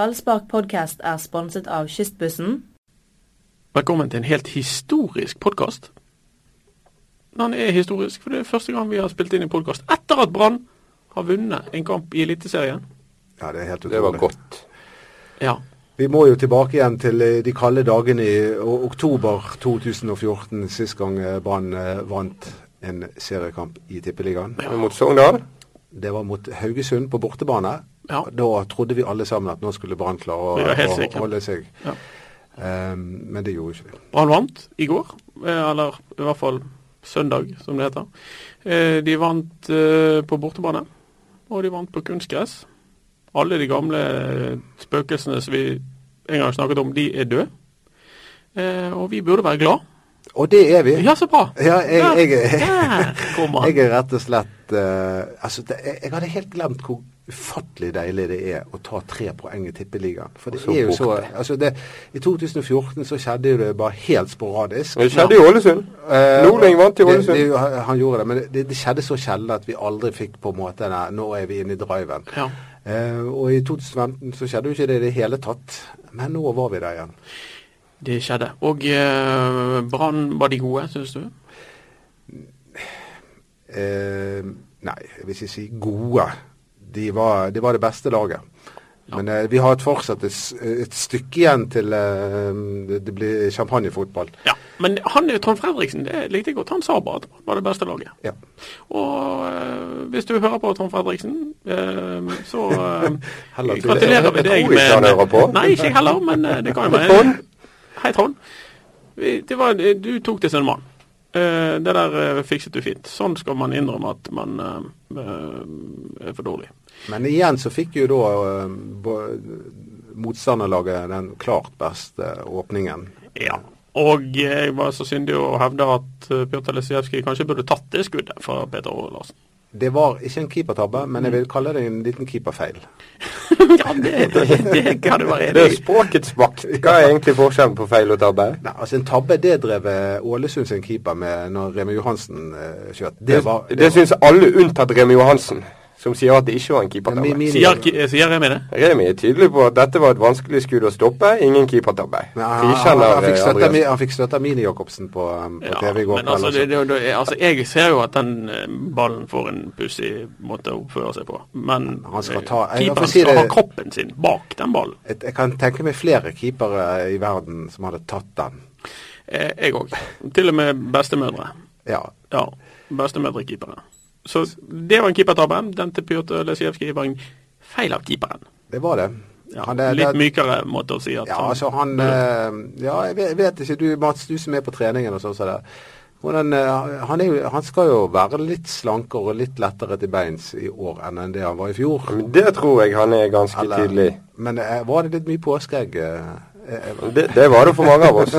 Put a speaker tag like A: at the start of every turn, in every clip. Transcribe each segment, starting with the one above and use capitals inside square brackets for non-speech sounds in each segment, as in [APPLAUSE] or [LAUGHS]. A: Ballspark podkast er sponset av Kystbussen.
B: Velkommen til en helt historisk podkast. Den er historisk, for det er første gang vi har spilt inn en podkast etter at Brann har vunnet en kamp i Eliteserien.
C: Ja, det er helt utrolig.
D: Det var godt.
B: Ja.
C: Vi må jo tilbake igjen til eh, de kalde dagene i o- oktober 2014, sist gang eh, Brann eh, vant en seriekamp i Tippeligaen.
D: Men Mot Sogndal?
C: Det var mot Haugesund på bortebane.
B: Ja.
C: Da trodde vi alle sammen at nå skulle Brann klare
B: Vi var helt
C: å,
B: sikre.
C: å holde seg.
B: Ja.
C: Eh, men det gjorde ikke det.
B: Brann vant i går, eh, eller i hvert fall søndag, som det heter. Eh, De vant eh, på bortebane, og de vant på kunstgress. Alle de gamle eh, spøkelsene som vi en gang snakket om, de er døde. Eh, Og vi burde være glad.
C: Og det er vi.
B: Ja, så bra!
C: Ja, jeg-
B: Der-
C: jeg-
B: Der kommer han.
C: Jeg er rett og slett eh, altså, det, jeg, jeg hadde helt glemt hvor ufattelig deilig det er å ta tre poeng i Tippeligaen. For det
D: Og så
C: er jo så
D: borte.
C: altså det, I 2014 så skjedde jo det bare helt sporadisk.
D: Men det skjedde i Ålesund.
C: Eh,
D: Nordling vant i
C: det-
D: Ålesund.
C: det er jo- han- han gjorde det, men det, det skjedde så sjelden at vi aldri fikk på en måte den der, Nå er vi inne i driven.
B: Ja.
C: Eh, og i 2015 så skjedde jo ikke det i det hele tatt. Men nå var vi der igjen.
B: Det skjedde. Og eh, Brann, var de gode, syns du?
C: Eh, nei, jeg vil ikke si gode. De var, de var det beste laget.
B: Ja.
C: Men eh, vi har et fortsatt et, s- et stykke igjen til eh, det- det blir champagnefotball.
B: Ja. Men han er jo Trond Fredriksen, det likte jeg godt. Han sa bare at Brann var det beste laget.
C: Ja.
B: Og eh, hvis du hører på, Trond Fredriksen, eh, så
D: [LAUGHS]
B: eh,
C: Heller til-
B: gratulerer vi
D: Jeg
B: deg
D: tror ikke han hører på.
B: Nei, ikke jeg heller, men eh, det kan jo være
D: Trond?
B: Hei, Trond. Vi- Det var, du tok det som en mann. Eh, det der eh, fikset du fint. Sånn skal man innrømme at man eh, eh, er for dårlig.
C: Men igjen så fikk jo da eh, bo- motstanderlaget den klart beste åpningen.
B: Ja. Og eh, jeg var så syndig å hevde at eh, Pjotr Lesijevskij kanskje burde tatt det skuddet fra Peter Aare Larsen. [LAUGHS]
C: Det var ikke en keepertabbe, men jeg
D: Mm.
C: vil kalle det en liten keeperfeil.
B: ja, det, det, det kan du være enig
D: Det er
B: i.
D: språkets makt. Hva er egentlig forskjellen på feil og tabbe?
C: Nei, altså En tabbe det drev eh, Ålesund sin keeper med når Remi Johansen eh, skjøt. Det, var-
D: det,
C: var-
D: syns alle unntatt Remi Johansen, som sier at det ikke var en
C: Ja,
D: keepertabbe.
C: men min-
B: Sier, eh, sier jeg med det?
D: Remi er tydelig på at dette var et vanskelig skudd å stoppe, ingen keepertabbe.
C: Nei, han, han, han,
D: eh,
C: fikk støtte av Mi- han fikk støtte av Mini Jacobsen på, um, på TV i går
B: men altså,
C: kveld.
B: det,
C: også.
B: det, det, altså, jeg ser jo at den eh, ballen får en pussig måte å oppføre seg på, men
C: Han skal
B: eh,
C: ta- jeg- jeg får
B: keeperen
C: si
B: skal
C: det-
B: ha kroppen sin bak den ballen.
C: Et- Jeg kan tenke meg flere keepere eh, i verden som hadde tatt den.
B: Eh, jeg òg. Til og med bestemødre.
C: Ja.
B: Ja, bestemødrekeepere. Så det var en keepertabbe. Den til Pjotr Lesijevskij var en feil av keeperen.
C: Det var det.
B: Ja,
C: Han, det,
B: litt
C: det-
B: mykere måte å si at
C: Ja,
B: han-
C: altså
B: [LAUGHS]
C: han eh, Ja, jeg vet, jeg vet ikke. Du Mats, du som er på treningen og sånn som det. Hvordan, eh, han, er jo, han skal jo være litt slankere og litt lettere til beins i år enn det han var i fjor.
D: Men det tror jeg han er ganske
C: Eller-
D: tydelig.
C: Men eh, var det litt mye påskeegg? eh, eh,
D: Det, det var det for
C: [LAUGHS]
D: mange av oss.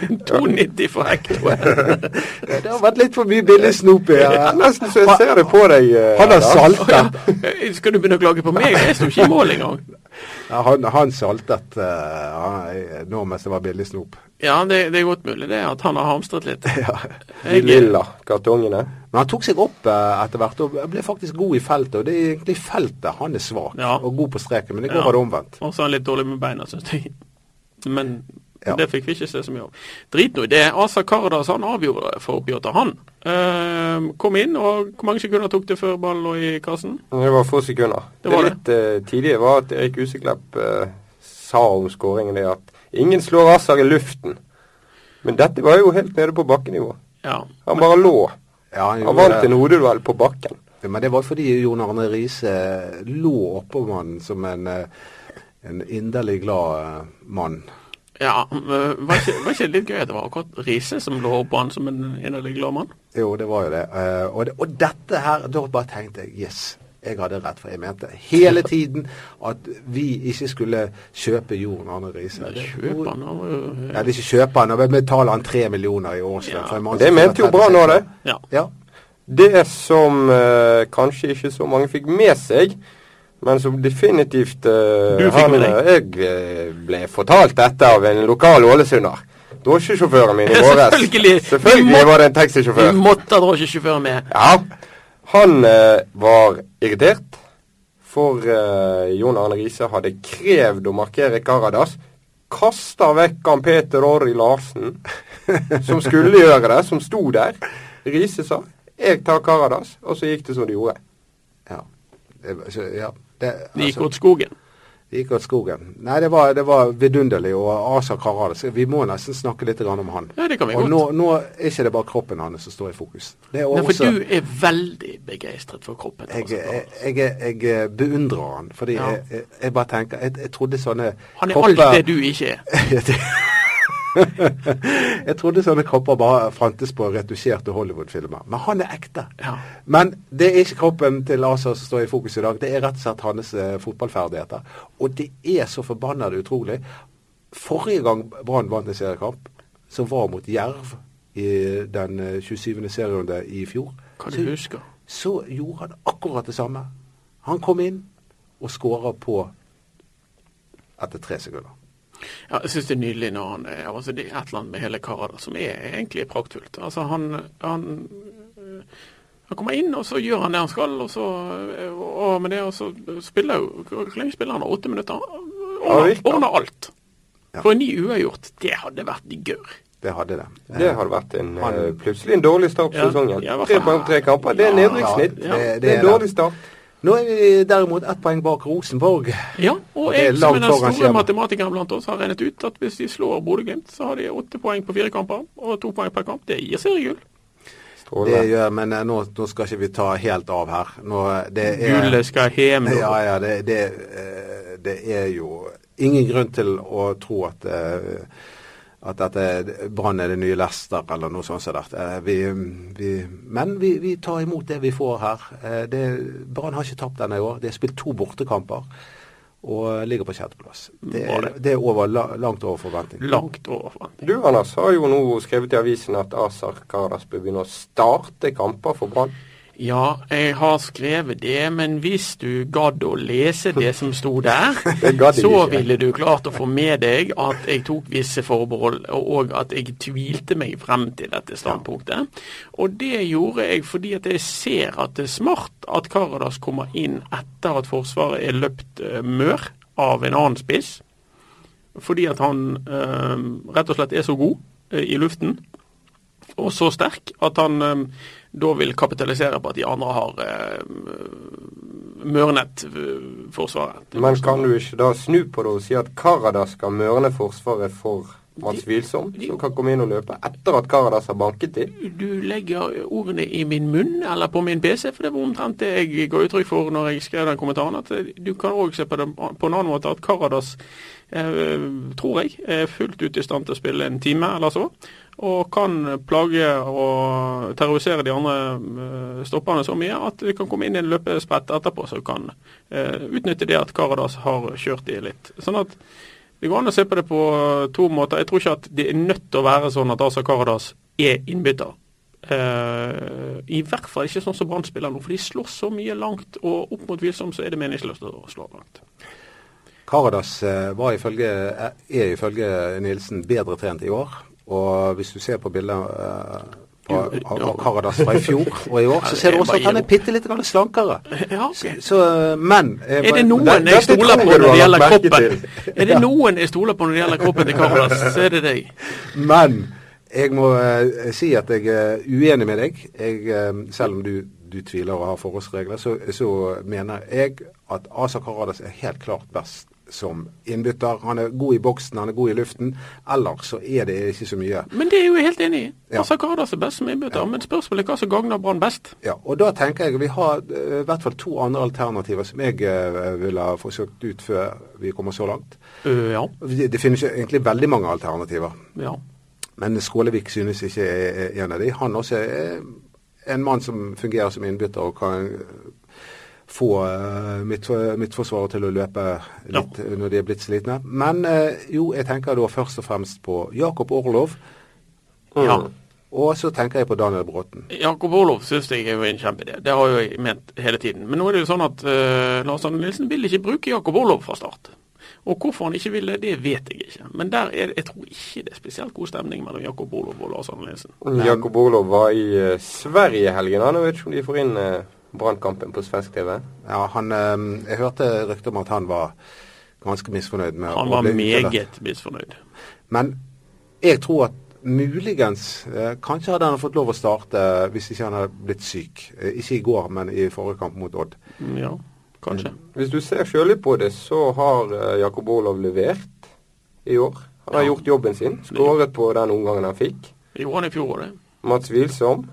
B: 2,90 for hekto.
C: eh, Det har vært litt for mye billig snop i
D: [LAUGHS] Ja,
C: her.
D: Nesten så jeg ser det på deg. eh,
C: Han har
D: Lars.
C: saltet.
B: [LAUGHS] Skal du begynne å klage på meg? Jeg sto ikke i mål engang.
C: [LAUGHS] Ja, han, han saltet eh, han- nå mens det var billig snop.
B: Ja, det, det er godt mulig det at han har hamstret
C: [LAUGHS]
B: litt.
D: De lilla kartongene.
C: Men han tok seg opp eh, etter hvert og ble faktisk god i feltet. Og det er egentlig i feltet han er svak
B: Ja.
C: og god på streken, men i går
B: Ja.
C: var det omvendt.
B: Og så er han litt dårlig med beina, syns jeg. Men
C: Ja.
B: det fikk vi ikke se så mye av. Drit nå i det. Asa Karadas han avgjorde det for Pjotr, han. Ehm, kom inn, og hvor mange sekunder tok det før ballen lå i kassen?
D: Det var få sekunder.
B: Det var det.
D: litt eh, tidlige var at Erik Huseklepp eh, sa om skåringen det at ingen slår Assar i luften. Men dette var jo helt nede på bakkenivå.
B: Ja.
D: Han bare lå.
C: Ja, han
D: Han
C: gjorde
D: vant
C: det.
D: en hodeduell på bakken.
C: Men det var fordi Jon Arne Riise eh, lå oppå mannen som en, eh, en inderlig glad eh, mann.
B: ja øh, var, ikke, var ikke det litt gøy at det var akkurat Riise som lå på han som en inderlig glad mann?
C: Jo, det var jo det. Eh, og, det og dette her, da bare tenkte jeg yes, jeg hadde rett, for jeg mente hele tiden at vi ikke skulle kjøpe Jon Arne Riise. Det-
B: Kjøp han, han var jo
C: Ja, det er ikke kjøpe han, og vi betaler han tre millioner i årslønn.
B: Ja.
C: for en mann
D: Det
C: som
D: mente jo
C: spiller
D: Brann nå,
C: 36
D: det.
B: Ja.
C: Ja.
D: Det som eh, kanskje ikke så mange fikk med seg, men som definitivt eh,
B: Du fikk
D: han,
B: med deg.
D: Jeg eh, ble fortalt dette av en lokal ålesunder. Drosjesjåføren min i
B: Ja,
D: våres.
B: selvfølgelig. Vi
D: Selvfølgelig
B: må-
D: var det en
B: Vi
D: taxisjåfør.
B: måtte ha drosjesjåfør med.
D: Ja. Han eh, var irritert For eh, Jon Arne Riise hadde krevd å markere Karadas. Kaster vekk han Peter Orri Larsen, som skulle gjøre det, som sto der. Riise sa 'jeg tar Karadas', og så gikk det som det gjorde.
C: Ja. Det, var- så, ja. Det,
B: Det gikk
C: altså,
B: åt skogen.
C: det gikk åt skogen. Nei, det var, det var vidunderlig. Og Asa Karadas Vi må nesten snakke litt grann om han.
B: Ja, det kan vi
C: og
B: godt.
C: nå, nå er ikke det bare kroppen hans som står i fokus. Det er
B: Nei, for
C: også,
B: du er veldig begeistret for kroppen.
C: jeg,
B: altså.
C: jeg, jeg, jeg eh, beundrer han, fordi
B: Ja.
C: jeg, jeg, jeg bare tenker Jeg, jeg trodde sånne
B: Han er alt det
C: [LAUGHS]
B: du ikke er.
C: Jeg trodde sånne kropper bare fantes på retusjerte Hollywood-filmer. Men han er ekte.
B: Ja.
C: Men det er ikke kroppen til Asa som står i fokus i dag. Det er rett og slett hans eh, fotballferdigheter. Og det er så forbanna utrolig. Forrige gang Brann vant en seriekamp, som var mot Jerv i den eh, 27. serierunde i fjor,
B: Hva du
C: så,
B: husker.
C: så gjorde han akkurat det samme. Han kom inn og skåra på etter tre sekunder.
B: Ja, jeg syns det er nydelig når han er altså Det er et eller annet med hele Karadas som er egentlig praktfullt. Altså han, han øh, han kommer inn, og så gjør han det han skal, og så øh, og med det, og så spiller jo Hvor lenge spiller han? Åtte minutter?
D: Ja,
B: Ordner,
D: virkelig.
B: ordner alt.
C: Ja.
B: For en ny uavgjort, det hadde vært gørr.
C: Det hadde det.
D: Det hadde vært en,
C: Han-
D: eh, plutselig en dårlig start på
B: Ja.
D: sesongen.
B: Ja, i hvert
D: Tre
B: fall.
D: poeng på tre kamper, det er
C: Ja,
D: nedrykkssnitt.
C: ja, det-
D: det
C: det
D: er
C: er
D: en
C: det.
D: dårlig start.
C: Nå er vi derimot ett poeng bak Rosenborg.
B: Ja, og
C: Og det er
B: jeg som er
C: langt
B: den
C: foran
B: store
C: skjema.
B: matematikeren blant oss, har regnet ut at hvis de slår Bodø-Glimt, så har de åtte poeng på fire kamper og to poeng per kamp. Det gir seriegull.
D: Strålende.
C: Det gjør, men eh, nå, nå skal ikke vi ta helt av her. Nå, eh, det er,
B: Gullet skal hjem. nå.
C: Ja, ja, det, det, eh, det er jo ingen grunn til å tro at, eh, at dette Brann er det nye Leicester eller noe sånt. som det. Eh, Vi, vi, men vi, vi tar imot det vi får her. Eh, det- Brann har ikke tapt denne i år. De har spilt to bortekamper og ligger på sjetteplass. Det,
B: Bra det.
C: det er over, la- langt over forventning.
B: Langt over forventning.
D: Du Anders har jo nå skrevet i avisen at Azar Karas bør begynne å starte kamper for Brann.
B: Ja, jeg har skrevet det, men hvis du gadd å lese det som sto der,
D: Det gadd [LAUGHS] jeg
B: så
D: ikke.
B: ville du klart å få med deg at jeg tok visse forbehold, og- og at jeg tvilte meg frem til dette standpunktet. Og det gjorde jeg fordi at jeg ser at det er smart at Karadas kommer inn etter at Forsvaret er løpt eh, mør av en annen spiss. Fordi at han eh, rett og slett er så god eh, i luften og så sterk at han eh, da vil kapitalisere på at de andre har eh, mørnet eh, Forsvaret.
D: Men kan du ikke da snu på det og si at Karadas skal mørne forsvaret for Mats Wilsom, som kan komme inn og løpe etter at Karadas har banket til?
B: Du legger ordene i min munn eller på min PC, for det var omtrent det jeg ga uttrykk for når jeg skrev den kommentaren. At eh, du kan òg se på det på en annen måte at Karadas, eh, tror jeg, er fullt ut i stand til å spille en time eller så. Og kan plage og terrorisere de andre eh, stopperne så mye at det kan komme inn i en løpesprett etterpå som kan eh, utnytte det at Karadas har kjørt de litt. Sånn at det går an å se på det på to måter. Jeg tror ikke at det er nødt til å være sånn at Asa Karadas er innbytter. Eh, I hvert fall ikke sånn som Brann spiller nå, for de slår så mye langt. Og opp mot Wilsom så er det meningsløst å slå langt.
C: Karadas eh, var ifølge, er ifølge Nilsen bedre trent i år. Og hvis du ser på bildet eh, på,
B: Jo,
C: av,
B: ja.
C: av Karadas fra i fjor og i år,
B: Ja,
C: så ser
B: det
C: du
B: er
C: også
B: bare
C: at han er
B: iro.
C: bitte litt grann slankere.
B: Ja, ok.
C: Så, så, men eh,
B: Er det
C: men-
B: noen
D: dette
B: jeg stoler
D: tror
B: på
D: jeg du
B: når det
D: har
B: gjelder
D: lagt merke
B: kroppen? Er
D: [LAUGHS]
B: det noen jeg stoler på når det gjelder kroppen til Karadas, så er det deg.
C: Men jeg må eh, si at jeg er uenig med deg. Jeg, eh, selv om du, du tviler og har forholdsregler, så, så mener jeg at Asa Karadas er helt klart best som innbytter. Han er god i boksen, han er god i luften. Ellers så er det ikke så mye.
B: Men det er jo jeg helt enig i.
C: Ja.
B: Asa Karadas er best som innbytter. Men spørsmålet er hva som gagner Brann best.
C: Ja, og da tenker jeg vi har eh, i hvert fall to andre alternativer som jeg eh, ville ha forsøkt ut før vi kommer så langt.
B: Øh, ja.
C: Det det finnes jo egentlig veldig mange alternativer,
B: ja.
C: men Skålevik synes ikke er er en av de. Han også er en mann som fungerer som innbytter og kan få eh, midt, midtforsvaret til å løpe litt eh, når de er blitt slitne. Men eh, jo, jeg tenker da først og fremst på Jakob Orlov,
B: ja.
C: og så tenker jeg på Daniel Bråten.
B: Jakob Orlov syns jeg er jo en kjempeidé. Det har jo jeg ment hele tiden. Men nå er det jo sånn at eh, Lars Arne Nilsen vil ikke bruke Jakob Orlov fra start. Og hvorfor han ikke vil det, det vet jeg ikke. Men der er, jeg tror ikke det er spesielt god stemning mellom Jakob Orlov og Lars Arne Nilsen.
D: Jakob Olov var i eh, Sverige i helgen. Han Jeg vet ikke om de får inn eh, Brannkampen på svensk TV.
C: Ja, han, eh, jeg hørte rykter om at han var ganske misfornøyd med
B: Han
C: å
B: var
C: bli utelatt.
B: meget misfornøyd.
C: Men jeg tror at muligens eh, Kanskje hadde han fått lov å starte eh, hvis ikke han hadde blitt syk. Eh, ikke i går, men i forrige kamp mot Odd.
B: Mm, Ja, kanskje.
D: Hvis du ser sjøl på det, så har eh, Jakob Olav levert i år. Han har
B: Ja.
D: gjort jobben sin. Skåret på den omgangen han fikk.
B: Gjorde han i fjor òg, det.
D: Mats Wilsom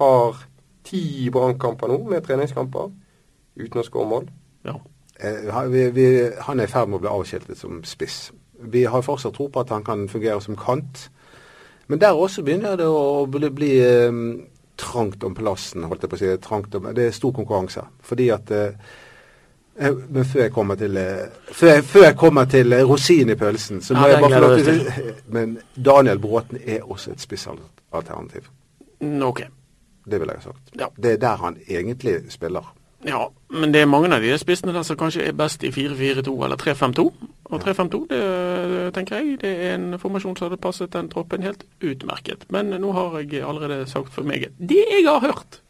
D: har ti brannkamper nå med treningskamper uten å skåre mål.
B: Ja.
C: Eh, ha- vi, vi, han er i ferd med å bli avskiltet som spiss. Vi har fortsatt tro på at han kan fungere som kant. Men der også begynner det å bli, bli eh, trangt om plassen, holdt jeg på å si. Trangt om, det er stor konkurranse. Fordi at eh, eh, Men før jeg kommer til eh, før, jeg- før jeg kommer til eh, rosinen i pølsen, så
B: Ja,
C: må
B: den
C: jeg bare få lov
B: gleder
C: til Men Daniel Bråten er også et spissalternativ.
B: Mm, OK.
C: Det vil jeg ha sagt.
B: Ja.
C: Det er der han egentlig spiller.
B: ja. Men det er mange av de spissene der som kanskje er best i 4-4-2 eller 3-5-2. Og 3-5-2, det eh, tenker jeg, det er en formasjon som hadde passet den troppen helt utmerket. Men nå har jeg allerede sagt for meget. Det jeg har hørt,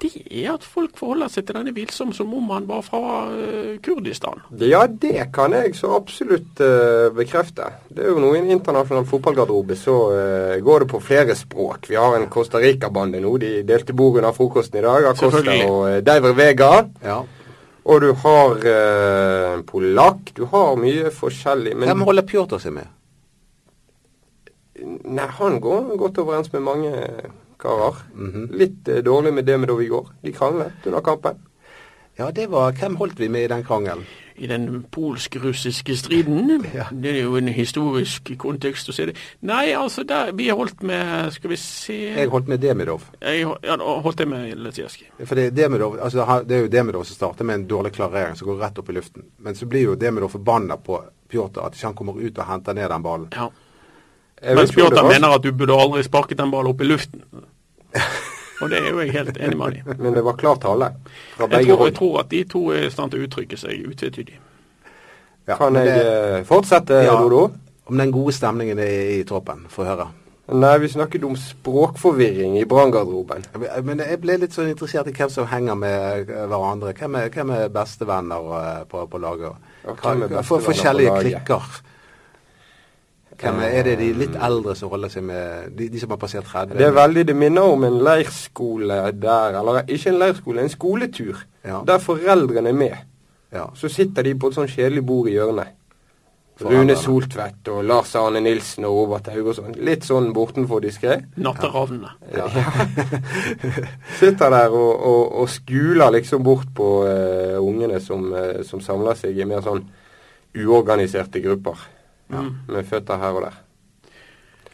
B: det er at folk forholder seg til denne Wilsom som om han var fra eh, Kurdistan.
D: Ja, det kan jeg så absolutt eh, bekrefte. Det er jo noe i en internasjonal fotballgarderobe, så eh, går det på flere språk. Vi har en Costa Rica-bande nå. De delte bord under frokosten i dag. Acosta
B: Selvfølgelig.
D: og eh, Deiver Vega.
C: Ja.
D: Og du har eh, en polakk. Du har mye forskjellig. Men
C: Hvem holder Pjotr seg med?
D: Nei, han går godt overens med mange eh, karer. Litt eh, dårlig med Demidov i går. De kranglet under kampen.
C: Ja, det var Hvem holdt vi med i den krangelen?
B: i den polsk-russiske striden.
C: Ja.
B: Det er jo en historisk kontekst å se det. Nei, altså, der, vi har holdt med Skal vi se
C: Jeg holdt med Demidov.
B: Jeg ho- ja, da holdt jeg med Lesieski.
C: For det er, Demidov, altså, han- det er jo Demidov som starter med en dårlig klarering som går rett opp i luften. Men så blir jo Demidov forbanna på Pjotr at ikke han kommer ut og henter ned den ballen.
B: Ja.
D: Jeg
B: Mens
D: vet ikke om det
B: Bjørtar
D: var-
B: mener at du burde aldri sparket den ballen opp i luften. Og det er jo jeg helt enig
D: [LAUGHS]
B: med han i.
D: Men det var klar tale fra
B: Jeg tror,
D: begge
B: jeg
D: hold.
B: tror at de to er i stand til å uttrykke seg utvetydig.
C: Ja,
D: Kan
C: men
D: jeg
C: det-
D: eh, fortsette,
C: ja,
D: Dodo?
C: Om den gode stemningen det er i troppen. Få høre.
D: Nei, vi snakket om språkforvirring i branngarderoben.
C: Men jeg ble litt sånn interessert i hvem som henger med eh, hverandre. Hvem er, hvem er bestevenner eh, på, på laget? Hva,
D: Ja, hvem er bestevenner
C: for,
D: på
C: forskjellige
D: laget?
C: klikker. Hvem er, er det de litt eldre som holder seg med De, de som har passert 30?
D: Eh. Det er veldig, det minner om en leirskole der, eller ikke en leirskole, en skoletur.
C: Ja.
D: Der foreldrene er med.
C: ja.
D: Så sitter de på et sånn kjedelig bord i hjørnet. Rune
C: Foreldrene.
D: Soltvedt og Lars Arne Nilsen og Robert Haug og sånn. Litt sånn bortenfor diskré.
B: Natteravnene.
D: Ja. [LAUGHS] Sitter der og, og, og skuler liksom bort på eh, ungene som, eh, som samler seg i mer sånn uorganiserte grupper. Med føtter her og der.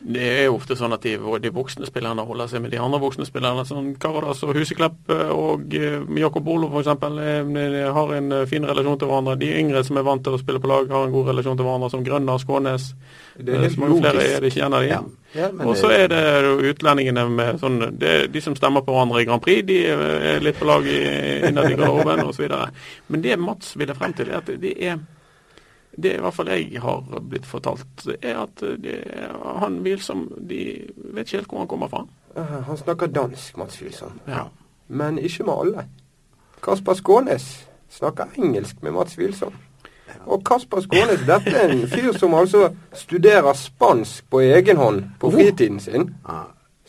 B: Det er jo ofte sånn at de, de voksne spillerne holder seg med de andre voksne spillerne. Sånn Karadas og Huseklepp eh, og eh, Jakob Olo f.eks. har en eh, fin relasjon til hverandre. De yngre som er vant til å spille på lag, har en god relasjon til hverandre, som Grønner, Skånes.
D: Det er helt
B: Eh, så mange flere
D: logisk.
B: er det ikke en av de.
C: Ja. Ja, men
B: og
C: det-
B: så er det jo utlendingene med sånn det, er De som stemmer på hverandre i Grand Prix, de eh, er litt på lag i- innad i garderoben osv. Men det Mats ville frem til, er at de er det i hvert fall jeg har blitt fortalt, er at det, han vil som De vet ikke helt hvor han kommer fra.
D: Eh, han snakker dansk, Mats Wilson.
B: Ja.
D: Men ikke med alle. Kasper Skånes snakker engelsk med Mats Wilson.
C: sånn.
D: Og Kasper Skånes, dette er en fyr som altså studerer spansk på egen hånd på fritiden sin.
C: Ja.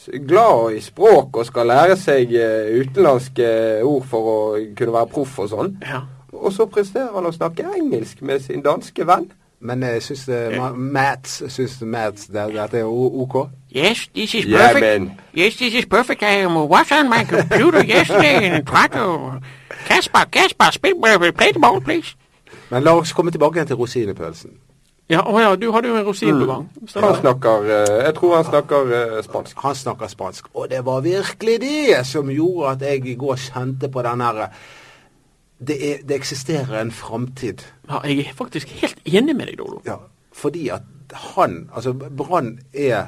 D: s- glad i språk og skal lære seg eh, utenlandske ord for å kunne være proff og sånn.
B: ja.
D: Og så presterer han å snakke engelsk med sin danske venn.
C: Men jeg syns eh, Ma- Mats syns Mats det, dette er o- OK?
E: Yes, this is
D: Yeah,
E: perfect.
D: man.
E: Yes, this is perfect. I um, was on my computer yesterday and tried to... Caspar, Caspar, speak, uh, play the ball, please.
C: Men la oss komme tilbake igjen til rosinepølsen.
B: ja. Å ja, du hadde jo en rosin på gang. Stemmer
D: Han
B: det?
D: snakker eh, Jeg tror han snakker eh, spansk.
C: Han snakker spansk, og det var virkelig det som gjorde at jeg i går kjente på den herre det, er- det eksisterer en framtid.
B: Ja, jeg er faktisk helt enig med deg, Dolo.
C: Ja, fordi at han Altså, Brann er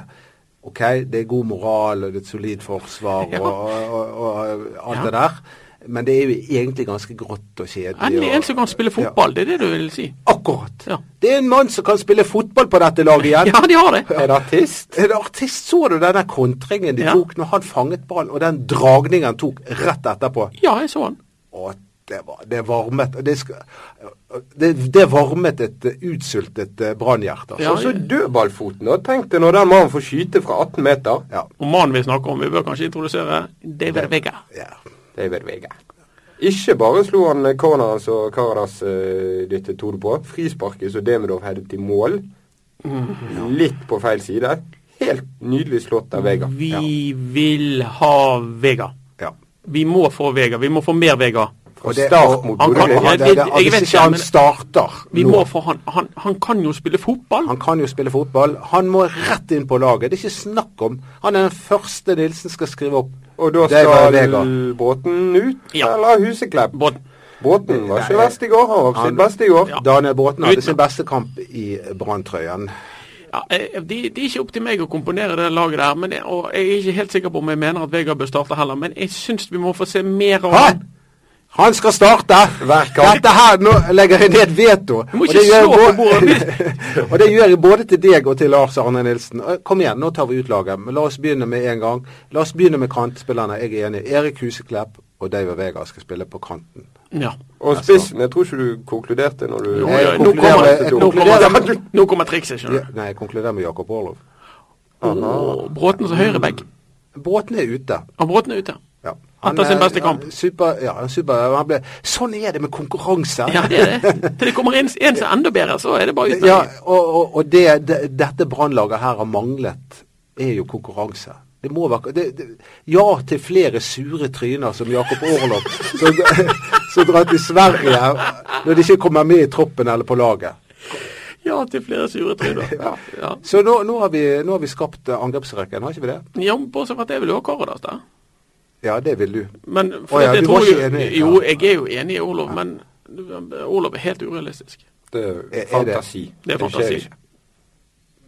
C: OK, det er god moral, og det er et solid forsvar og, og, og, og alt det der. Men det er jo egentlig ganske grått og kjedelig.
B: Endelig
C: og-
B: en E som kan spille fotball, det er det du vil si.
C: Ja, akkurat.
B: Ja.
C: Det er en mann som kan spille fotball på dette laget igjen.
B: [LAUGHS] Ja, de har det.
D: Er det artist?
C: En artist, så du den der kontringen de
B: Ja.
C: tok når han fanget ballen, og den dragningen han tok rett etterpå?
B: Ja, jeg så han.
C: Å, det, var, det varmet og det, skal, det, det varmet et eh, utsultet eh, brannhjerte.
B: Ja,
C: Altså.
D: Og så dødballfoten. Og tenk deg når den mannen får skyte fra 18 meter.
C: Ja.
B: Og mannen vi snakker om, vi bør kanskje introdusere David Vegga.
C: Ja.
D: David Vega. Ikke bare slo han eh, corneren som Karadas eh, dyttet hodet på. Frisparket som Demidov hadde til mål.
B: Mm.
D: Litt på feil side. Helt nydelig slått av Vega.
B: Vi vil ha Vegga.
C: Ja.
B: Vi må få Vega. Vi må få mer Vega.
D: Fra
C: Og det-
D: start mot
B: han
D: Bodø
B: kan-
D: Glimt.
B: han-
C: det,
B: jeg-
C: det,
B: jeg
C: hvis
B: vet
C: ikke
B: ikke,
C: han
B: men-
C: starter
B: Vi
C: nå
B: må få han. han. Han kan jo spille fotball.
C: Han kan jo spille fotball. Han må rett inn på laget. Det er ikke snakk om. Han er den første Nilsen skal skrive opp.
D: Og da
C: det var
D: skal
C: Vega.
D: Bråten ut,
B: Ja.
D: eller Huseklepp?
B: Båten.
D: Båten var ikke
C: Nei,
D: verst i går. Han var på
C: han-
D: sitt beste i går.
B: Ja.
C: Daniel Bråten hadde
B: Uten-
C: sin beste kamp i Brann-trøyen.
B: Ja, eh, de, de er ikke opp til meg å komponere det laget der. Men, jeg- og jeg er ikke helt sikker på om jeg mener at Vega bør starte heller, men jeg syns vi må få se mer av
C: Hæ?
B: han.
C: Han skal starte!
D: Hver kamp.
C: Dette her, Nå legger jeg ned veto.
B: Du må
C: Og
B: ikke
C: det gjør jeg
B: slå på
C: bå-
B: bordet.
C: [LAUGHS] og det gjør jeg både til deg og til Lars Arne Nilsen. Eh, Kom igjen, nå tar vi ut laget. Men la oss begynne med en gang. La oss begynne med kantspillerne. Jeg er enig. Erik Huseklepp og David Vega skal spille på kanten.
B: Ja.
D: Og spissen, jeg tror ikke du konkluderte når du
B: Altså. Jo,
C: Jeg
B: ja, Eh, nå
C: konkluderer-
B: kommer,
C: jeg
B: nå kommer,
C: konkluderer-
B: nå kommer trikset,
C: Ja,
B: skjønner du.
C: nei, jeg konkluderer med Jakob Orlov.
B: Åh, Bråten som høyreback.
C: Båten er ute.
B: Og Bråten er ute.
C: Ja.
B: tar sin
C: er-
B: beste kamp.
C: han- Super, ja, han er super, han ble, sånn er det med konkurranse.
B: Ja, det er det. Til det kommer en, en som er enda bedre, så er det bare ut. med
C: Ja,
B: det.
C: og, og, og det, det, dette brannlaget her har manglet, er jo konkurranse. Det må være, det, det, ja til flere sure tryner som Jakob Orlov, som, [LAUGHS] som drar til Sverige når de ikke kommer med i troppen eller på laget.
B: Ja, til flere sure tryner. Ja.
C: Så nå, nå, har, vi, nå har vi skapt eh, angrepsrekken, har ikke vi det?
B: Ja, men bortsett fra at jeg vil jo ha Karadas, da.
C: Ja, det vil du.
B: Men for
C: Å ja,
B: at jeg
C: du var
B: tror
C: ikke
B: jo-
C: enig, ja.
B: Jo, jeg er jo enig i Olof, men du- Olof er helt urealistisk.
D: Det
C: det-
D: er eh, fantasi.
B: Det er
D: skjer
B: fantasi.
D: ikke.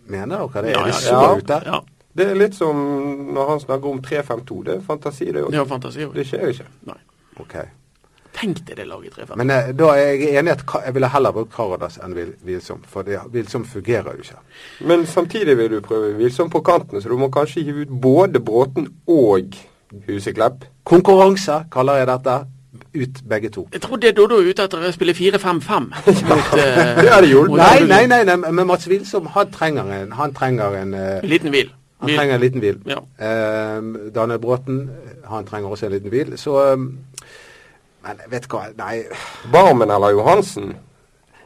C: Mener dere det?
B: Ja,
C: er det
B: ja,
C: så
D: ja.
C: ute?
B: Ja,
D: Det er litt som når han snakker om 3-5-2. Det er fantasi, det
B: det er
D: òg.
B: jo fantasi også.
D: Det skjer ikke.
B: Nei.
C: Ok.
B: Tenk deg det laget i 3-5.
C: Men eh, da er jeg enig i at Ka- jeg ville heller brukt Karadas enn Wil- Wilsom, for det, Wilsom fungerer jo ikke.
D: Men samtidig vil du prøve Wilson på kanten, så du må kanskje hive ut både Bråten og Huseklepp.
C: Konkurranse kaller jeg dette. Ut begge to.
B: Jeg tror det er Dodo er ute etter å spille 4-5-5.
C: [LAUGHS]
B: mot, eh,
D: Det hadde hjulpet.
B: mot
C: Nei,
B: Dodo.
C: nei, nei, nei, men Mats Wilsom han trenger en Han trenger en, eh,
B: Liten hvil.
C: han trenger en liten hvil.
B: Ja.
C: Eh, Daniel Bråten han trenger også en liten hvil. Så eh, Men vet du hva, nei.
D: Barmen eller Johansen?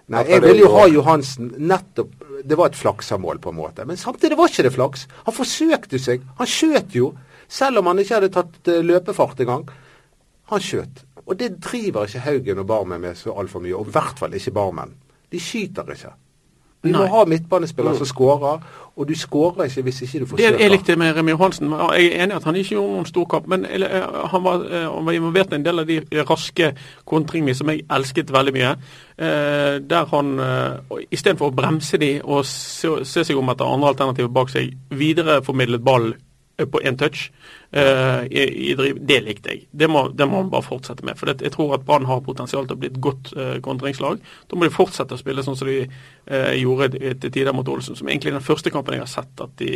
C: Nei,
D: At
C: jeg
D: det er
C: vil jo
D: bra.
C: ha Johansen nettopp Det var et flaksamål, på en måte. Men samtidig var ikke det flaks. Han forsøkte seg. Han skjøt jo. Selv om han ikke hadde tatt eh, løpefart engang. Han skjøt. Og det driver ikke Haugen og Barmen med så altfor mye. Og i hvert fall ikke Barmen. De skyter ikke. Du må
B: Nei. Mm.
C: ha midtbanespillere som skårer, og du skårer ikke hvis ikke du
B: Det
C: forsøker.
B: jeg likte med Remi Johansen, var- jeg er enig i at han ikke gjorde noen stor kamp, men eller, eh, han var, eh, han var involvert i en del av de eh, raske kontringene som jeg elsket veldig mye. Eh, der han eh, og istedenfor å bremse de og se, se seg om etter andre alternativer bak seg, videreformidlet ballen eh, på én touch eh, i, i driv. Det likte jeg. Det må, det må han bare fortsette med. For det, jeg tror at Brann har potensial til å bli et godt eh, kontringslag. Da må de fortsette å spille sånn som de eh, gjorde til tider mot Ålesund, som egentlig er den første kampen jeg har sett at de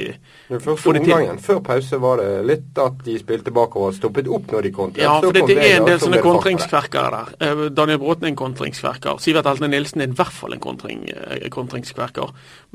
D: Den
B: Får
D: første
B: det til.
D: omgangen, før pause, var det litt at de spilte bakover og stoppet opp når de kontret.
B: Ja,
D: Så
B: for det,
D: kom
B: det er
D: Vega,
B: en del
D: så
B: sånne
D: ble det fart på det.
B: kontringskverkere der. Eh, Daniel Bråten er en kontringskverker. Sivert Heltne Nilsen er i hvert fall en kontring, eh, kontringskverker.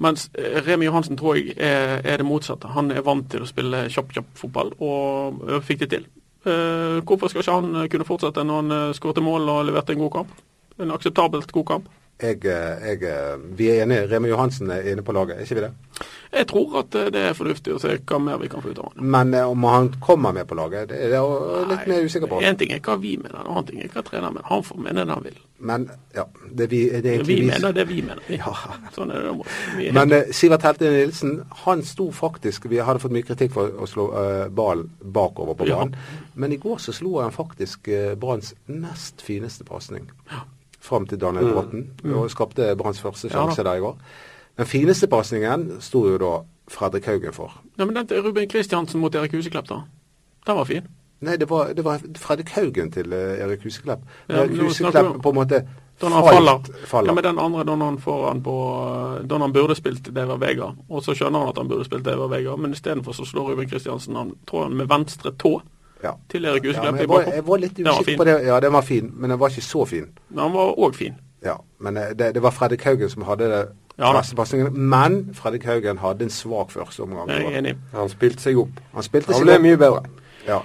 B: Mens eh, Remi Johansen tror jeg er, er det motsatte. Han er vant til å spille kjapp-kjapp fotball, og eh, fikk det til. Eh, hvorfor skal ikke han eh, kunne fortsette når han eh, skåret mål og leverte en god kamp? En akseptabelt god kamp.
C: Jeg, eh, jeg, eh, vi er enige. Remi Johansen er inne på laget, er ikke vi det?
B: Jeg tror at eh, det er fornuftig å se hva mer vi kan få ut av han.
C: Men eh, om han kommer med på laget, det er jeg litt mer usikker på.
B: Én ting er hva vi mener, en annen ting er hva treneren mener. Han får mene det han vil.
C: Men ja, det er, vi, det er egentlig
B: Vi
C: vi
B: mener det vi mener.
C: Ja.
B: Sånn er det. da må- Vi er
C: Men eh, Sivert Helte Nilsen, han sto faktisk Vi hadde fått mye kritikk for å slå eh, ballen bakover på
B: Ja.
C: banen. Men i går så slo han faktisk eh, Branns nest fineste pasning. Fram til Daniel Bråten. Og skapte Branns første
B: Mm. Ja da.
C: sjanse der i går. Den fineste pasningen sto jo da Fredrik Haugen for.
B: Ja, men den til Ruben Kristiansen mot Erik Huseklepp, da. Den var fin.
C: Nei, det var, det var Fredrik Haugen til eh, Erik Huseklepp.
B: Ja,
C: Erik
B: men nå snakker vi
C: Huseklepp
B: om-
C: på en måte
B: Da han faller.
C: faller.
B: Ja, men den andre da han får han på eh, Da han burde spilt Deva Vega, og så skjønner han at han burde spilt Deva Vega, men istedenfor så slår Ruben Kristiansen han, tror han, med venstre tå
C: Ja.
B: til Erik
C: Ja, men
B: Huseklepp i
C: jeg, var,
B: bakhånd.
C: jeg var litt
B: Den var
C: usikker
B: fin.
C: på det. Ja, den var fin, men den var ikke så fin.
B: Men han var òg fin.
C: Ja, men eh, det, det var Fredrik Haugen som hadde det
B: Ja da.
C: beste pasningen. Men Fredrik Haugen hadde en svak førsteomgang.
B: Det er jeg enig i.
D: Han spilte seg opp.
C: Han spilte
D: Han
C: seg
D: ble
C: opp.
D: mye bedre.
C: Ja.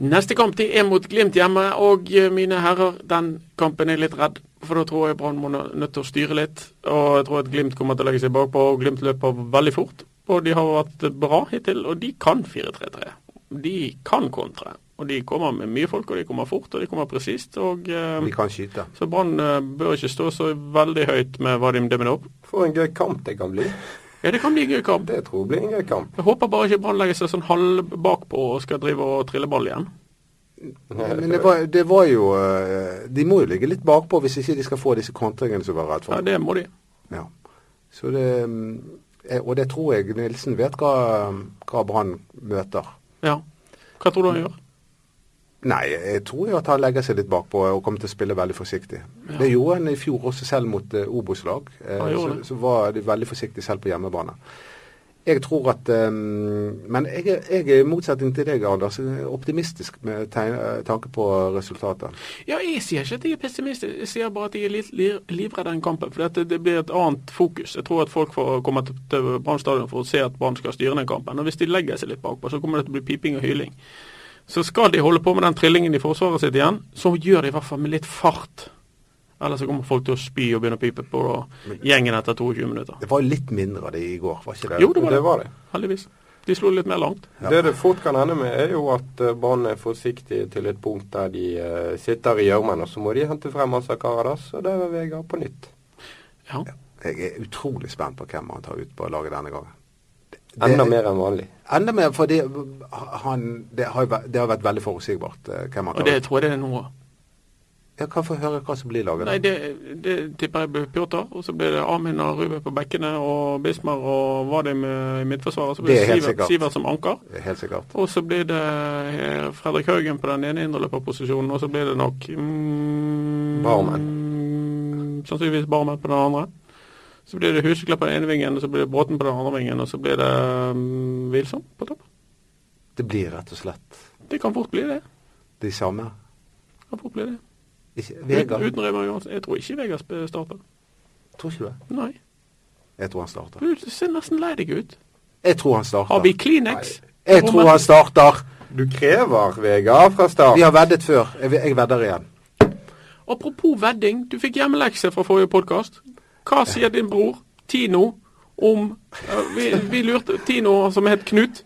B: Neste kamp det er mot Glimt hjemme, og eh, mine herrer, den kampen er jeg litt redd. For da tror jeg Brann må nø- nødt til å styre litt. Og jeg tror at Glimt kommer til å legge seg bakpå, og Glimt løper veldig fort. Og de har vært bra hittil, og de kan 4-3-3. De kan kontre. Og de kommer med mye folk, og de kommer fort, og de kommer presist. Og eh,
C: De kan skyte.
B: så Brann eh, bør ikke stå så veldig høyt med Vadim Deminov.
D: For en gøy kamp det kan bli.
B: Ja, det kan bli en gøy kamp.
D: Det tror jeg blir en gøy kamp.
B: Jeg håper bare ikke Brann legger seg sånn halv bakpå og skal drive og trille ball igjen.
C: Men det var, det var jo eh, De må jo ligge litt bakpå hvis ikke de skal få disse kontringene som var redd
B: Ja,
C: for.
B: det må de.
C: Ja. Så det, mm, eh, og det tror jeg Nilsen vet hva, hva Brann møter.
B: Ja. Hva tror du han gjør?
C: Nei, jeg tror jo at han legger seg litt bakpå og kommer til å spille veldig forsiktig. Det gjorde han i fjor også, selv mot eh, Obos-lag. Eh,
B: Han
C: så,
B: gjorde det.
C: så var de veldig forsiktige selv på hjemmebane. Jeg tror at eh, Men jeg, er- jeg er i motsetning til deg, Anders, optimistisk med teg- eh, tanke på resultatet.
B: Ja, jeg sier ikke at jeg er pessimist, jeg sier bare at jeg er litt lir- livredd den kampen. For dette, det blir et annet fokus. Jeg tror at folk får komme til- til Brann stadion for å se at Brann skal styre den kampen. Og hvis de legger seg litt bakpå, så kommer det til å bli piping og hyling. Så skal de holde på med den trillingen i forsvaret sitt igjen, så gjør de i hvert fall med litt fart. Ellers så kommer folk til å spy og begynne å pipe på gjengen etter 22 minutter.
C: Det var litt mindre av det i går, var ikke det?
B: Jo, det var
D: Det
B: det.
D: var det.
B: Heldigvis. De slo litt mer langt.
D: Det det fort kan ende med, er jo at eh, Brann er forsiktige til et punkt der de eh, sitter i gjørmen, og så må de hente frem Asa Karadas, og det er Vegard på nytt.
B: Ja.
C: Jeg er utrolig spent på hvem han tar ut på laget denne gangen. Det-
D: Enda mer enn vanlig.
C: Enda mer, for det, han, det, har, jo vært- det har vært veldig forutsigbart eh, hvem han
B: Og
C: tar
B: det
C: ut.
B: tror jeg det er noe av.
C: Jeg kan få høre hva som blir laget.
B: Nei, det, det tipper jeg blir Pjotr. Og så blir det Amin og Rube på bekkene og Bismar og Vadim eh, i midtforsvaret. Så blir
C: Det
B: det,
C: er helt
B: Sivert,
C: sikkert.
B: Sivert som anker.
C: Helt sikkert.
B: Og så blir det eh, Fredrik Haugen på den ene indreløperposisjonen, og så blir det nok mm, Sannsynligvis Barmen på den andre. Så blir det Huseklepp på den ene vingen, og så blir det Bråten på den andre vingen, og så blir det mm, Wilson på topp.
C: Det blir rett og slett
B: Det kan fort bli det.
C: de samme.
B: Det Kan fort bli det.
C: Ikke,
B: Uten,
C: Vegard,
B: uten Raymond Johansen. Jeg tror ikke Vegas starter.
C: tror ikke du det?
B: Nei.
C: Jeg tror han starter.
B: Du ser nesten lei deg ut.
C: Jeg tror han starter.
B: Har vi Kleenex?
C: Jeg tror han starter.
D: Du krever Vegard fra
C: Vi
D: start.
C: har veddet før. Jeg, jeg vedder igjen.
B: Apropos vedding, du fikk hjemmelekse fra forrige podkast. Hva sier din bror Tino om eh, vi, vi lurte Tino, som het Knut.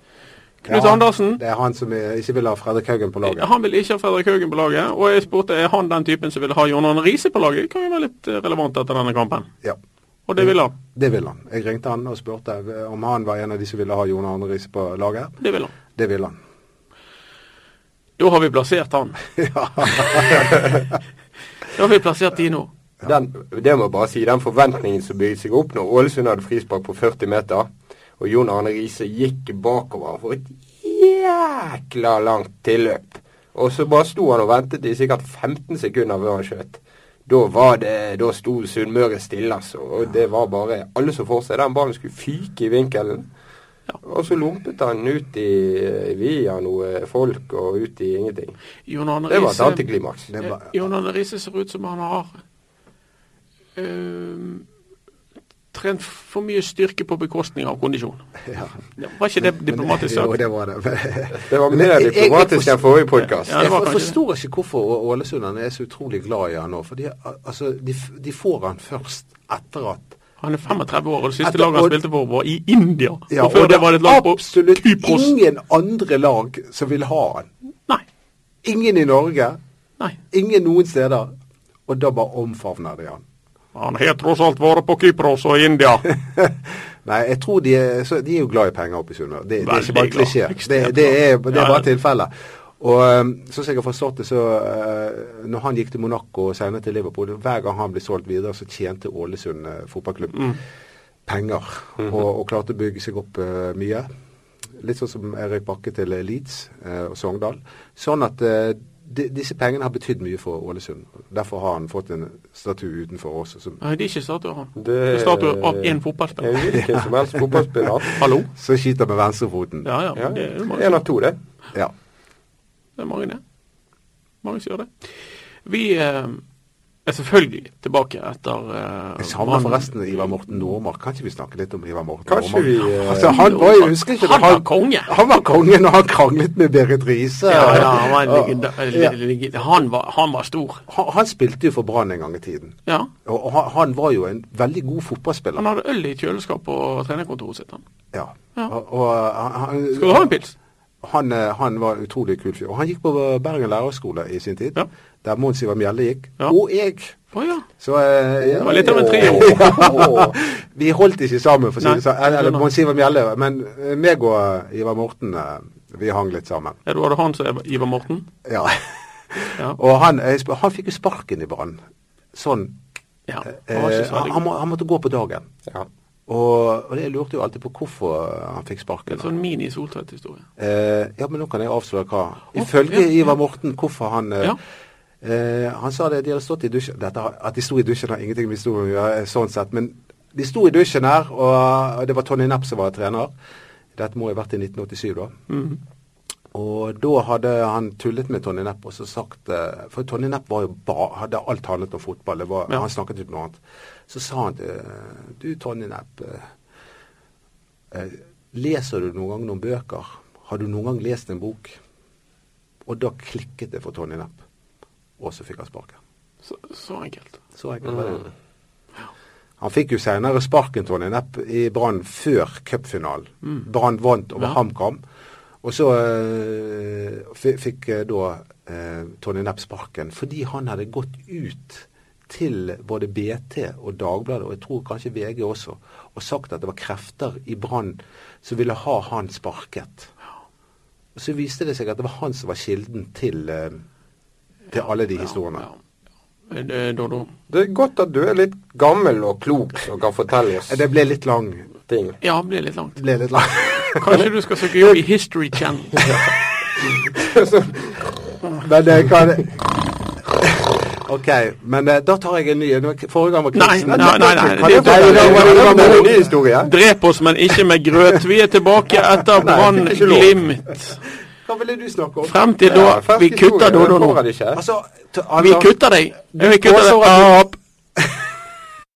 B: Knut
C: Ja,
B: Andersen.
C: Det er han som eh, ikke vil ha Fredrik Haugen på laget.
B: Han ville ikke ha Fredrik Haugen på laget, og jeg spurte er han den typen som ville ha John Arne Riise på laget. Det kan jo være litt eh, relevant etter denne kampen.
C: Ja,
B: Og det ville han.
C: det vil han. Jeg ringte han og spurte eh, om han var en av de som ville ha Jon Arne Riise på laget.
B: Det ville han.
C: Det vil han. [LAUGHS]
B: Da har vi plassert han. da har vi plassert Tino.
D: Den, det må jeg bare si, den forventningen som bygde seg opp når Ålesund hadde frispark på 40 meter, og Jon Arne Riise gikk bakover for et jækla langt tilløp. Og så bare sto han og ventet i sikkert 15 sekunder før han skjøt. Da var det, da sto Sunnmøre stille, altså. Og det var bare alle så for seg. Den ballen skulle fyke i vinkelen. Og så lompet han ut i via noe folk og ut i ingenting.
B: Jon Arne
D: Det var et
B: Riise-
D: antiklimaks.
C: Det var,
B: Eh, Jon Arne Riise ser ut som han har eh, trent for mye styrke på bekostning av kondisjon.
C: ja.
B: Var ikke det
C: Men-
B: diplomatisk
C: Jo,
B: sagt?
C: det var det.
D: Det var
C: Men
D: mer
C: jeg- jeg- jeg
D: diplomatisk
C: forstår-
D: enn forrige podkast.
B: Ja, det
C: jeg
B: var
C: for-
B: kanskje
C: forstår ikke hvorfor Å- ålesunderne er så utrolig glad i han nå. For de, al- altså, de, f- de får han først etter at
B: Han er 35 år, og det siste
C: Etter-
B: laget han
C: og-
B: spilte for, var i India.
C: Ja,
B: og før det var det et lag på
C: absolutt
B: Kypros.
C: ingen andre lag som vil ha han.
B: Nei.
C: Ingen i Norge,
B: nei.
C: ingen noen steder. Og da bare omfavner de han.
B: Han har tross alt vært på Kypros og
C: [LAUGHS]
B: India.
C: Nei, jeg tror de er, så, de er jo glad i penger oppe i Sunnmøre. Det, det er ikke bare
B: Veldig glad.
C: klisjé. Det,
B: Ekstremt
C: det, er,
B: glad.
C: det
B: Ja,
C: er
B: ja.
C: bare tilfellet. Og um, sånn som jeg har forstått det, så eh, når han gikk til Monaco og senere til Liverpool, hver gang han ble solgt videre, så tjente uh,
B: Mm. Mhm.
C: Ålesund eh, fotballklubb penger. og, og klarte å bygge seg opp eh, mye. Litt sånn som Erik Bakke til Leeds eh, og Sogndal. Sånn at eh, di- disse pengene har betydd mye for Ålesund. Derfor har han fått en statue utenfor oss. Som,
B: Nei, det er ikke statue av han.
D: Det-
B: Det er statue av én fotballspiller.
D: En hvilken som helst fotballspiller.
B: Hallo?
C: så skyter med venstrefoten.
B: Ja, ja.
D: Ja,
B: Det er jo sånn. mange.
D: en av to, det.
C: Ja.
B: Det er mange, det. Mange som gjør det. Vi eh, er selvfølgelig tilbake etter eh,
C: Jeg savner forresten Ivar Morten Nordmark. Kan ikke vi snakke litt om Ivar Morten
D: Kanskje
C: Nordmark?
D: vi, eh,
C: altså, han var jo, husker ikke det,
B: Han var konge.
C: Han var kongen, og han kranglet med Berit Riise.
B: Ja, ja, han var en legenda.
C: Ja.
B: en legenda- Han var, han var stor.
C: Han, han spilte jo for Brann en gang i tiden.
B: Ja.
C: Og han, han var jo en veldig god
B: Han
C: fotballspiller.
B: hadde øl i kjøleskapet på trenerkontoret sitt. Han.
C: Ja.
B: Ja.
C: Og, og han, han,
B: Skal du ha en pils?
C: han, eh, han var en utrolig kul fyr. Og han gikk på Bergen lærerskole i sin tid,
B: Ja.
C: der Mons Ivar Mjelde gikk.
B: Ja.
C: Og jeg.
B: Å ja.
C: Så eh,
B: Det var litt av en
C: [LAUGHS]
B: trio.
D: Åh.
B: [LAUGHS]
C: vi holdt ikke sammen, for å si
B: Nei,
C: det sånn. Eller,
B: jeg skjønner.
C: Eller Mons Ivar Mjelde. Men eh, meg og eh, Ivar Morten, eh, vi hang litt sammen.
B: Ja, Du hadde han som er Ivar Morten?
C: Ja.
B: Ja.
C: [LAUGHS] og han, eh, sp- han fikk jo sparken i Brann. Sånn.
B: ja. Han var
C: Eh,
B: ikke så
C: han,
B: veldig
C: han
B: god.
C: må, han måtte gå på dagen.
D: Ja.
C: Og, og jeg lurte jo alltid på hvorfor han fikk sparken.
B: En sånn mini-Soltvedt-historie.
C: Eh, ja, men nå kan jeg avsløre hva.
B: Å,
C: Ifølge
B: ja, ja.
C: Ivar Morten, hvorfor han eh,
B: Ja.
C: eh, Han sa det, de hadde stått i dusjen Dette, har- At de sto i dusjen har ingenting med historien å gjøre, eh, sånn sett. Men de sto i dusjen her, og, og det var Tonje Nepp som var trener. Dette må jo ha vært i 1987, da.
B: Mhm.
C: Og da hadde han tullet med Tonje Nepp og så sagt eh, For Tonje Nepp var jo ba, hadde alt handlet om fotball. Det var,
B: Ja.
C: Han snakket ikke om noe annet. Så sa han til eh, Du, Tonje Nepp. eh, Eh, Leser du noen gang noen bøker? Har du noen gang lest en bok? Og da klikket det for Tonje Nepp. Og så fikk han sparken.
B: Så, så enkelt.
C: Så enkelt var det. Han fikk jo senere sparken, Tonje Nepp, i Brann før cupfinalen. Brann vant over
B: Mm. Ja.
C: HamKam. Og så eh, fi- fikk eh, da eh, Tonje Nepp sparken fordi han hadde gått ut til både BT og Dagbladet, og jeg tror kanskje VG også, og sagt at det var krefter i Brann som ville ha han sparket. Og så viste det seg at det var han som var kilden til, eh, til alle de historiene.
B: Ja. Eh, Dodo.
D: Det er godt at du er litt gammel og klok og kan fortelle oss
C: Det ble litt lang.
D: ting.
B: Ja, det blir litt langt.
C: Det ble litt lang. [LAUGHS]
B: Kanskje du skal søke jobb i History Channel?
C: Men det kan OK, men eh, da tar jeg en ny. Det var- Forrige gang var Knutsen.
B: Nei, nei, nei, nei,
C: Kan
B: det-
C: jeg ta-
B: det-
C: Nei,
B: det-
C: nei,
B: det-
C: nei,
B: det-
C: nei, nei,
D: en
C: nei.
D: ny historie.
B: Drep oss, men ikke med grøt. Vi er tilbake etter Brann
D: fikk ikke lov.
B: Glimt.
C: Hva ville du snakke om?
B: Frem til
D: Ja,
B: da.
D: fersk
B: Vi
D: historie,
B: kutter
D: den
B: Dodo nå.
D: får jeg ikke.
C: Altså, t-
B: Vi
C: altså,
B: kutter deg. Vi kutter
C: påstår
B: deg.
C: at
B: Opp.